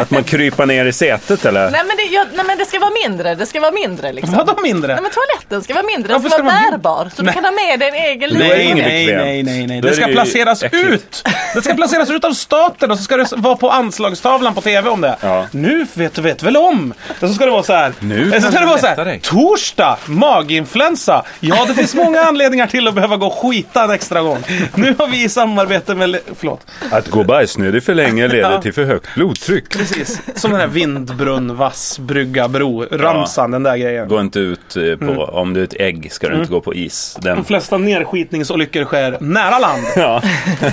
D: att man kryper ner i sätet eller?
B: nej, men det, jag, nej men det ska vara mindre, det ska vara mindre liksom.
C: Vadå mindre?
B: Nej men toaletten ska vara mindre, den
C: Varför
B: ska,
C: ska
B: vara
C: man-
B: bärbar. Så
C: Nej.
B: du kan ha med dig en egen
D: Nej,
B: liten
D: nej,
B: toalett.
C: nej,
D: nej.
C: nej, nej.
D: Då
C: Det
D: är
C: ska
D: det ju
C: placeras
D: äckligt.
C: ut! Det ska placeras ut av staten och så ska det vara på anslagstavlan på TV om det.
D: Ja.
C: Nu vet du vet väl om! Och så ska det vara så här.
D: Nu
C: Eller så
D: kan
C: ska det
D: du
C: vara så
D: lätta
C: här.
D: dig.
C: Torsdag! Maginfluensa! Ja, det finns många anledningar till att behöva gå och skita en extra gång. Nu har vi i samarbete med... Förlåt.
D: Att gå bajsnödig för länge leder till för högt blodtryck.
C: Precis. Som den här vindbrunn, vass, brygga, bro, ramsan, den där grejen.
D: Gå inte ut eh, på, om du är ett ägg ska du inte gå på is. Den,
C: De flesta nerskitningsolyckor sker nära land.
D: ja,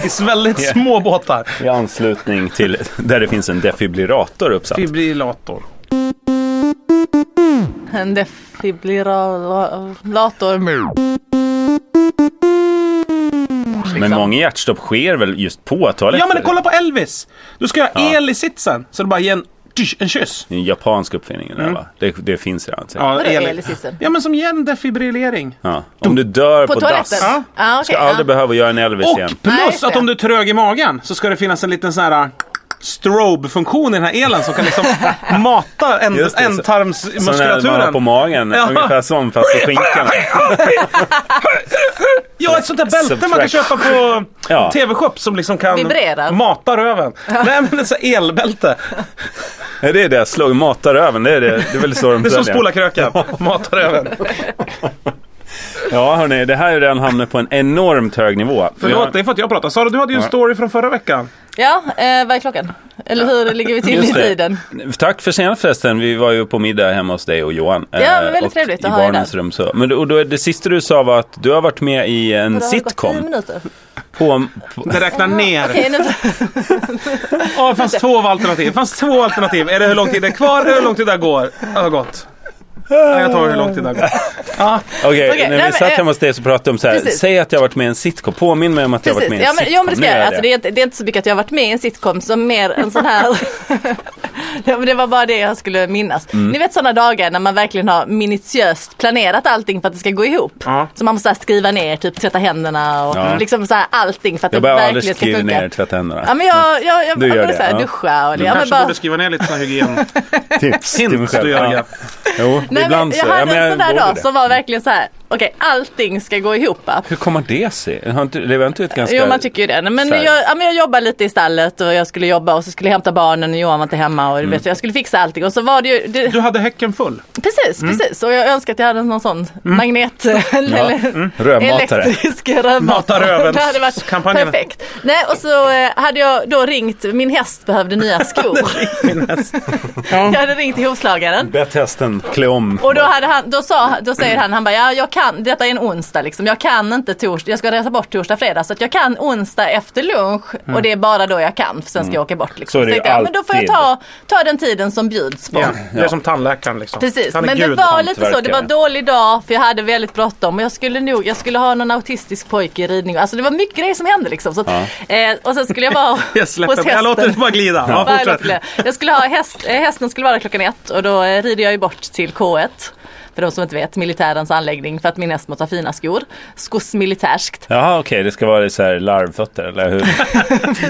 C: I väldigt små båtar.
D: I anslutning till där det finns en defibrillator uppsatt.
C: Fibrillator.
B: En defibrillator.
C: Mm.
D: Men många hjärtstopp sker väl just på
C: Ja
D: toaletter?
C: men kolla på Elvis! Du ska ha
D: Ja.
C: el i sitsen. Så du bara ger en tsch, en kyss.
D: Den japanska uppfinningen där va? Det, det finns redan. säkert.
C: Ja,
B: Vadå
C: el-
B: elisisen?
C: Ja, men som ger en defibrillering.
D: Ja. Om du dör på,
B: På
D: dass.
B: toaletten?
C: Ja.
B: Ja,
D: Ska
B: okej,
D: aldrig
B: ja.
D: behöva göra en Elvis
C: Och
D: igen.
B: Nej,
C: plus
B: just
C: att
B: det.
C: om du är trög i magen så ska det finnas en liten sån här uh, strobe-funktion i den här elen som kan liksom mata änd-
D: Just det, så- Som när man har på
C: ändtarmsmuskulaturen.
D: magen.
C: Ja.
D: Ungefär som fast på skinkan.
C: Ja, ett sånt där bälte man kan
D: Subtract.
C: köpa på
D: Ja.
C: TV-shop som liksom kan
B: Vibrerar.
C: mata röven. Nej, men ett sånt här elbälte.
D: Nej, det är det. Slå, mata röven. Det är, det. Det är väl så de
C: Det är som
D: säljer.
C: spola kröken. Mata röven.
D: Ja, hörni. Det här är redan hamnat på en enormt hög nivå.
C: Förlåt, det är för att jag pratar. Sara, du hade ju en
D: Ja.
C: story från förra veckan.
B: Ja, eh, vad är klockan? Eller hur ligger vi till i
D: Just det.
B: tiden?
D: Tack för senast förresten. Vi var ju på middag hemma hos dig och Johan. Eh,
B: men väldigt
D: och
B: trevligt
D: i
B: att ha er
D: barnens
B: där.
D: rum. Så. Men, och då, det sista du sa var att du har varit med i en
B: Det har gått tio
D: sitcom.
B: minuter.
D: På, på,
C: Det räknar ner.
B: Okej, nu-
C: Ja, det fanns två alternativ. Det fanns två alternativ. Är det hur lång tid det är kvar eller hur lång tid det går? Ja, det har gått. Ja, jag tar hur lång tid det har gått. Ja,
D: Okej,
B: Okej,
D: när
B: nej,
D: vi
B: men,
D: satt
B: eh,
D: hemma hos dig så pratade de så här.
B: precis.
D: Säg att jag har varit med i en sitcom. Påminn mig om att jag har varit med i
B: Precis,
D: en
B: ja
D: sitcom.
B: men, ja, men det ska
D: Nu
B: jag.
D: gör
B: göra. Alltså, det, är, inte- det är inte så mycket att jag har varit med i en sitcom som mer en sån här. ja, men det var bara det jag skulle minnas.
D: Mm.
B: Ni vet sådana dagar när man verkligen har minutiöst planerat allting för att det ska gå ihop.
C: Ja.
B: Så man måste så här, skriva ner, typ tvätta händerna och
D: Ja.
B: liksom så här, allting för att
D: Jag
B: det
D: börjar aldrig
B: verkligen ska
D: skriva
B: funka.
D: ner tvätta händerna.
B: Ja men jag, jag, jag,
D: Du
B: jag
D: gör
B: borde
D: det,
B: så här,
D: ja.
B: duscha och
C: du
B: ja, men
C: kanske
B: bara,
C: borde skriva ner lite sån här hygien.
D: Tips
C: Hint
D: till mig själv.
C: du gör, ja.
D: Jo,
B: Nej, men
D: ibland
B: jag
D: så. Ja,
B: hade
D: men jag
B: en sån där
D: borde
B: dag
D: det.
B: som var verkligen så här. okej allting ska gå ihop. va?
D: Hur kommer det sig? Har inte, det var inte ett ganska...
B: Jo man tycker ju det. Nej, Men
D: Så här.
B: jag, ja, men jag jobbade lite i stallet och jag skulle jobba och så skulle jag hämta barnen och Johan var inte hemma och
D: Mm.
B: du vet, jag skulle fixa allting. Och så var det ju, det,
C: Du hade häcken full.
B: precis, precis. Och jag önskar att jag hade någon sån magnet
D: Mm. Ja.
B: eller
D: Mm. Rövmatare.
B: elektrisk rövmatare.
C: Mata röven.
B: Det hade varit
C: Kampanjen.
B: perfekt. Nej och så eh, hade jag då ringt, min häst behövde nya skor. jag hade ringt till hovslagaren.
D: Bett hästen klä om.
B: Och då, hade han, då, sa, då säger han, han bara, ja jag kan, detta är en onsdag liksom, jag kan inte torsdag, jag ska resa bort torsdag, fredag, så att jag kan onsdag efter lunch
C: Mm.
B: och det är bara då jag kan, för sen ska jag åka bort. Liksom.
D: Så är det ju
B: tänkte jag, men då får jag
D: alltid.
B: ta, ta den tiden som bjuds på.
C: Ja, det är som tandläkaren liksom.
B: Precis,
C: Han är
B: men det
C: gud.
B: var lite så, det
D: hantverkare.
B: var en dålig dag för jag hade väldigt bråttom och jag skulle nog, jag skulle ha någon autistisk pojke i ridning, alltså det var mycket grejer som hände liksom. Så att, eh, och sen skulle jag vara
C: Jag
B: hos
C: släpper,
B: hästen.
C: jag låter det bara glida. Ja,
B: Bara
C: fortsätt.
B: låt bli. Jag skulle ha häst, eh, hästen skulle vara där klockan ett och då eh, rider jag ju bort till K1. För de som inte vet, militärens anläggning för att min häst måste ha fina skor. Skos militärskt.
D: Jaha, okej. Det ska vara så här larvfötter, eller hur?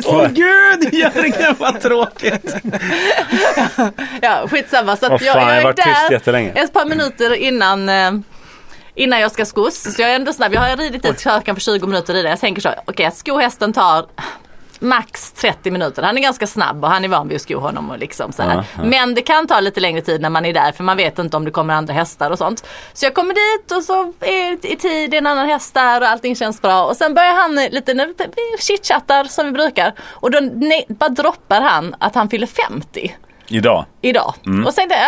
C: Åh gud, Jörgen vad tråkigt.
B: Ja, skitsamma. Så att
D: Åh,
B: jag,
D: fan, jag har
B: jag är
D: varit tyst jättelänge.
B: där ett par minuter innan, eh, innan jag ska skos. Så jag är ändå snabb. Jag har ridit dit krökan för 20 minuter i det. Jag tänker så, okej att sko hästen tar max 30 minuter. Han är ganska snabb och han är van vid att sko honom. Och liksom så här.
D: Ja, ja.
B: Men det kan ta lite längre tid när man är där för man vet inte om det kommer andra hästar och sånt. Så jag kommer dit och så är det i tid, det är en annan häst där och allting känns bra. Och sen börjar han lite, när vi chitchattar som vi brukar. Och då nej, bara droppar han att han fyller 50
D: Idag.
B: idag.
D: Mm.
B: Och sen tänkte jag,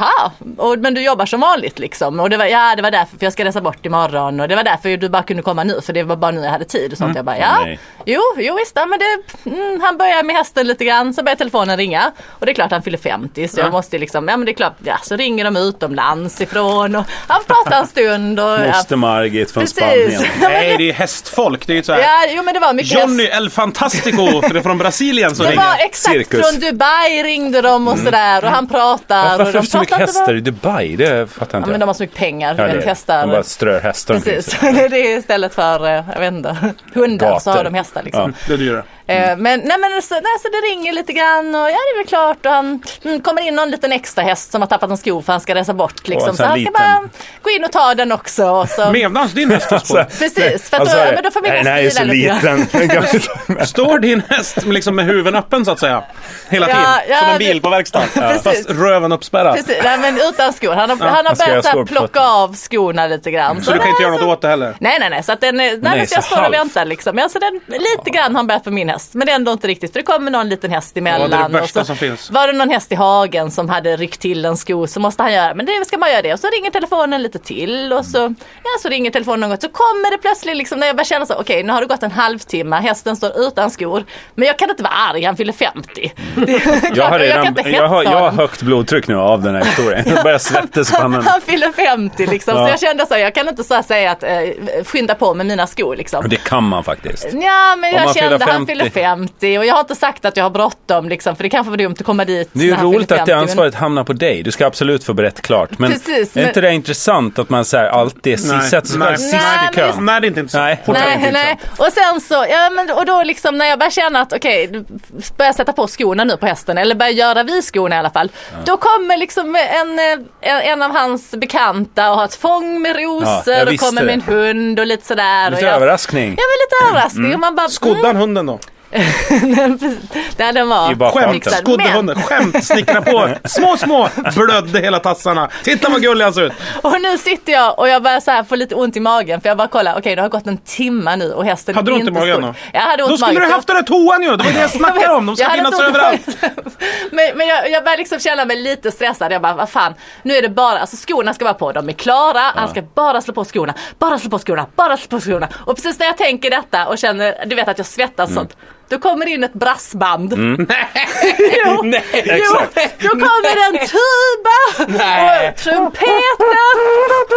B: ja, jaha, och, men du jobbar som vanligt liksom. Och det var, ja det var därför, för jag ska resa bort imorgon och det var därför du bara kunde komma nu för det var bara nu jag hade tid och sånt. Jag bara, ja,
D: Mm. Nej.
B: jo, jo visst, ja, men det, mm, han börjar med hästen lite grann, så börjar telefonen ringa. Och det är klart han fyller 50 så jag måste liksom, ja men det är klart, ja, så ringer de utomlands ifrån och han pratar en stund. Och, ja.
D: Moster Margit från
B: Precis.
D: Spanien.
C: Nej, det är ju hästfolk. Det är ju så här.
B: Ja, jo men det var mycket
C: Johnny El Fantastico för det är från Brasilien som
B: Det var
C: ringer.
B: exakt
D: Cirkus. Mm.
B: från Dubai ringde de och sådär och han pratar.
D: Varför
B: och
D: varför
B: de
D: har vi så mycket
B: pratar inte bara-
D: hästar i Dubai? Det fattar
B: Ja,
D: inte
B: men de
D: jag.
B: har så mycket pengar.
D: Ja,
B: du
D: det är
B: vet,
D: det.
B: hästar.
D: De bara strör liksom. hästar omkring
B: Precis,
D: sig.
B: det är istället för, eh, jag vet inte, hundar så har
D: Gator.
B: de hästar liksom.
C: Det är dyrare.
B: Eh, Men, nej, men så, nej, så det ringer lite grann och ja det är väl klart och han mm, kommer in någon liten extra häst som har tappat en sko för han ska resa bort
D: Åh,
B: liksom.
D: en
B: Så
D: sån
B: han ska
D: liten.
B: bara gå in och ta den också. Och så,
C: Medans din häst får spår.
B: precis, för att
D: Alltså,
B: då, ja, men då får min
D: nej, den här är
B: häst
D: så
B: vila lite grann.
D: liten. Den kan vi ta med.
C: Står din häst med liksom med huven öppen så att säga? Hela
B: Ja,
C: tiden?
B: ja,
C: som en
B: det-
C: bil på verkstaden?
B: Precis.
C: Fast röven uppspärrad?
B: Precis, nej, men utan skor. Han har, han har
D: han ska
B: börjat
D: göra
B: så här,
D: skor på
B: plocka
D: fötterna.
B: av skorna lite grann.
C: Så du kan
B: nej,
C: inte göra
B: så-
C: något åt det heller?
B: Nej nej nej, så att den, nej,
D: Nej,
B: men
D: så
B: jag står
D: halv.
B: och väntar liksom. Jag, så den, lite grann har han börjat på min häst men det är ändå inte riktigt för det kommer någon liten häst emellan.
C: Ja, det är det
B: och
C: värsta
B: så,
C: som finns.
B: Var det någon häst i hagen som hade ryckt till en sko så måste han göra men det ska man göra det. Och så ringer telefonen lite till och så, ja, så ringer telefonen något så kommer det plötsligt liksom när jag börjar känna så okej nu har det gått en halvtimme, hästen står utan skor men jag kan inte vara arg, han fyller 50. Det är klart
D: Jag har
B: att
D: redan
B: kan inte
D: jag, har,
B: hetsa
D: jag har
B: honom.
D: högt blodtryck nu av den här historien. Jag börjar svettas i pannan.
B: Han fyller 50 liksom. Så
D: Ja.
B: jag kände så här, jag kan inte så här säga att eh, skynda på med mina skor liksom.
D: Och Det kan man faktiskt.
B: Ja men
D: Om han
B: jag
D: fyller
B: kände han
D: 50.
B: fyller 50 och jag har inte sagt att jag har bråttom liksom för det kanske var dumt att komma dit.
D: Det är ju
B: när han
D: roligt
B: fyller
D: att det
B: 50, men-
D: ansvaret hamnar på dig. Du ska absolut få berätta klart. Men
B: Precis,
D: är
B: men-
D: inte det intressant att man så här alltid
C: Nej,
D: sätter sig
C: nej.
D: själv sist
B: Nej,
D: i kön?
B: men
C: Nej, det är inte intressant.
D: Nej.
C: Fortsätt.
B: Nej, nej.
C: liksom.
B: Och sen så, ja, men, och då liksom när jag börjar känna att okej, okay, börjar sätta på skorna nu på hästen eller börjar göra vi skorna i alla fall. Då kommer liksom en, eh, en, en av hans bekanta och har ett fång med
D: Ja,
B: rosor
D: jag
B: och
D: visste
B: kommer med en
D: det.
B: hund och lite sådär.
D: Lite
B: och jag,
D: överraskning.
B: Ja men
C: Mm.
B: lite överraskning. Och man bara,
C: Skodde han hunden då?
B: mm, ja, den var
D: I bakgrunden.
C: Skämt,
D: Mixad.
B: mixad.
C: skodde
B: Men-
C: hunden. Skämt, snickra på. Små, små. Blödde hela tassarna. Titta vad gullig han ser ut.
B: Och nu sitter jag och jag börjar så här få lite ont i magen för jag bara kollar, okej det har gått en timme nu och hästen
C: Hade
B: är
C: du ont i
B: inte
C: magen
B: skoj.
C: då?
B: Jag hade ont
C: Då
B: i magen.
C: skulle du haft den där toan ju. Det var det jag snackade om. De
B: Jag
C: ska
B: hade
C: finnas
B: inte ont i
C: överallt.
B: magen. men men jag, jag börjar liksom känna mig lite stressad. Jag bara, vad fan. Nu är det bara, alltså skorna ska vara på. De är klara. Han ska bara slå på skorna. Bara slå på skorna. Bara slå på skorna. Och precis när jag tänker detta och känner, du vet att jag
C: Mm.
B: svettas sånt. Då kommer det in ett brassband. jo, jo, då kommer en tuba
C: Nej.
B: och trumpeten.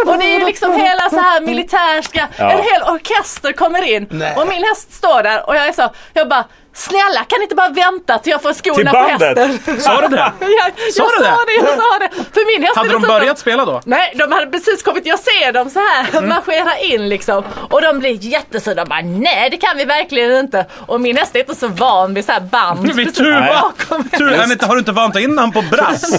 B: Och det är liksom hela så här militärska.
D: Ja.
B: En hel orkester kommer in.
C: Nej.
B: Och min häst står där och jag är så, jag bara Snälla kan ni inte bara vänta till jag får
D: Till
B: skorna på hästen?
D: bandet.
C: Sa du det?
B: Jag, jag
C: Sa
B: sa
C: du det?
B: det, jag sa det. För min häst är
C: Hade de
B: dessutom-
C: börjat Mm. spela då?
B: Nej, de hade precis kommit. Jag ser dem så här marschera in liksom. Och de blir jättesura. De bara nej det kan vi verkligen inte. Och min häst är inte så van vid så här band.
C: Vid
D: Nej.
C: tuba. Tur, han inte, har du inte vant dig innan på brass?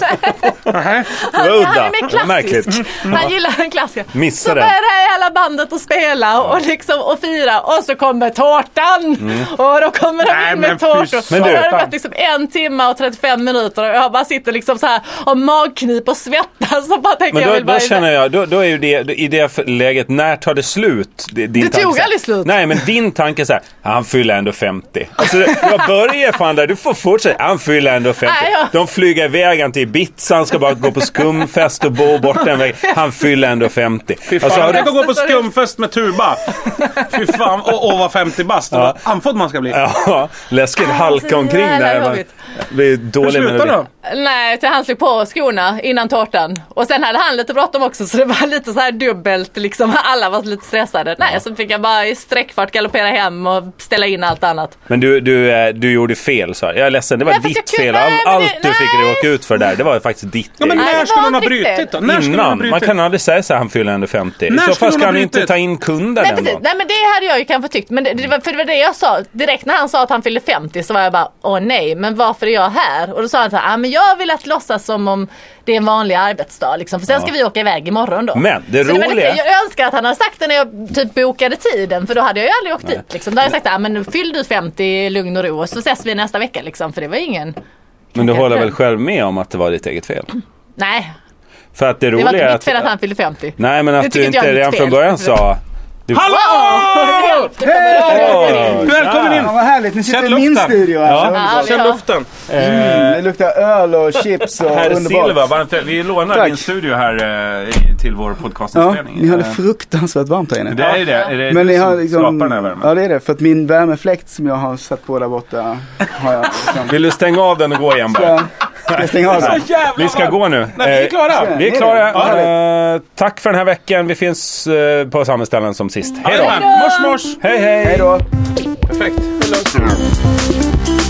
C: Nej.
B: Han,
D: Udda.
B: han är mer klassisk.
D: Märkligt.
B: Han gillar den klassiska.
D: Missade.
B: Så börjar det här hela bandet att spela och, liksom, och fira och så kommer tårtan.
D: Mm.
B: Och då kommer de
C: Nej,
B: in
C: men
B: med
C: fy
B: tårtor.
C: Men
B: och
D: du-
B: då har det gått liksom en timme och 35 minuter och jag bara sitter liksom så här och magknip och svettas och bara tänker
D: Men
B: jag
D: då,
B: vill bara
D: då känner jag, då, då är ju det, då- i det läget, när tar det slut? D- Din
B: Det
D: tanke
B: tog
D: så här-
B: aldrig slut.
D: Nej, men din tanke är så här, han fyller ändå 50. Alltså, det- jag börjar fan där, du får fortsätta, han fyller ändå 50.
B: Nej, ja.
D: De flyger iväg han till Ibiza, han ska bara gå på skumfest och bo borta en vecka. Han fyller ändå 50. Alltså, har
C: Fan,
D: du,
C: tänk att gå på skumfest med tuba. Fy fan, och, och vara 50 bast. Ja. Andfådd man ska bli.
D: ja, läskigt halka
B: så
D: omkring
B: jävla
D: där. Man,
B: jobbigt.
D: blir
C: Hur
D: dålig
C: slutar
D: melodi.
C: då?
B: Nej, till han slog på skorna innan tårtan. Och sen hade han lite bråttom också så det var lite så här dubbelt liksom. Alla var lite stressade. Nej, så fick jag bara i sträckfart galoppera hem och ställa in allt annat.
D: Men du, du, eh, du gjorde fel, så här. Jag är ledsen, det var
B: Nej, fast jag
D: ditt
B: kunde-
D: fel.
B: nej, men
D: Allt
B: det-
D: du fick
B: nej.
D: råka ut för där, det var faktiskt ditt
C: Ja, men
D: fel.
B: det
C: när
B: var
C: skulle hon ha
B: inte riktigt.
C: brutit då? När skulle hon ha
D: Innan. Man
C: brutit?
D: kan aldrig säga så här, han fyller ändå 50.
C: När
D: I så
C: skulle
D: fall
C: hon
D: ska
C: ha
D: han
C: brutit?
D: inte ta in kunder
B: Nej,
D: den
B: precis.
D: dagen.
B: nej men det hade jag ju kanske tyckt. Men det, det var, för det var det jag sa. Direkt när han sa att han fyllde 50 så var jag bara åh nej men varför är jag här? Och då sa han så här, ah, men jag vill att låtsas som om det är en vanlig arbetsdag liksom. För sen ska vi åka iväg imorgon då.
D: Men det
B: Så var lite-
D: roliga-
B: jag önskar att han hade sagt det när jag typ bokade tiden för då hade jag ju aldrig åkt dit. Liksom. Då hade jag sagt ah, men nu fyll du 50 i lugn och ro och så ses vi nästa vecka liksom. För det var ingen.
D: Men du
B: Kanske.
D: håller väl själv med om att det var ditt eget fel?
B: Nej,
D: För att det
B: det
D: roliga
B: var inte
D: är
B: mitt
D: att...
B: fel att han fyllde 50.
D: Nej, men
B: Det
D: att
B: tycker
D: du
B: inte jag
D: inte
B: är mitt
D: redan från
B: fel.
D: början sa... Du,
C: Hallå!
D: Åh,
C: Välkommen in!
A: Ja, vad härligt, ni sitter
C: Känn
A: i min
C: luften.
A: studio här.
D: Ja.
A: Så underbart.
C: Känn luften.
A: Mm, det luktar öl och chips och
D: Herr Silva,
A: underbart.
D: varmt väl- vi lånar
A: Tack.
D: din studio här eh, i- till vår
A: Ja,
D: podcastinspelning.
A: ni har det
D: Eh,
A: fruktansvärt varmt här inne.
D: det är ju det. Är det
A: Men
D: du
A: ni
D: som
A: har liksom,
D: skapar den här värmen?
A: ja det är det, för att min värmefläkt som jag har satt på där borta har jag liksom,
D: Vill du stänga av den och gå igen bara? Alltså,
A: ska, ska jag stänga av den?
C: Så Alltså, jävla
D: Vi ska
C: varmt.
D: gå nu.
C: Nej, vi är
D: Eh,
C: klara.
D: Vi är
A: Ner.
D: klara.
A: Ja,
D: Eh, tack för den här veckan. Vi finns eh, på samma ställen som sist. Hej då!
C: Jajamän. Mors, mors!
D: Hej hej!
A: Hej då!
C: Perfekt.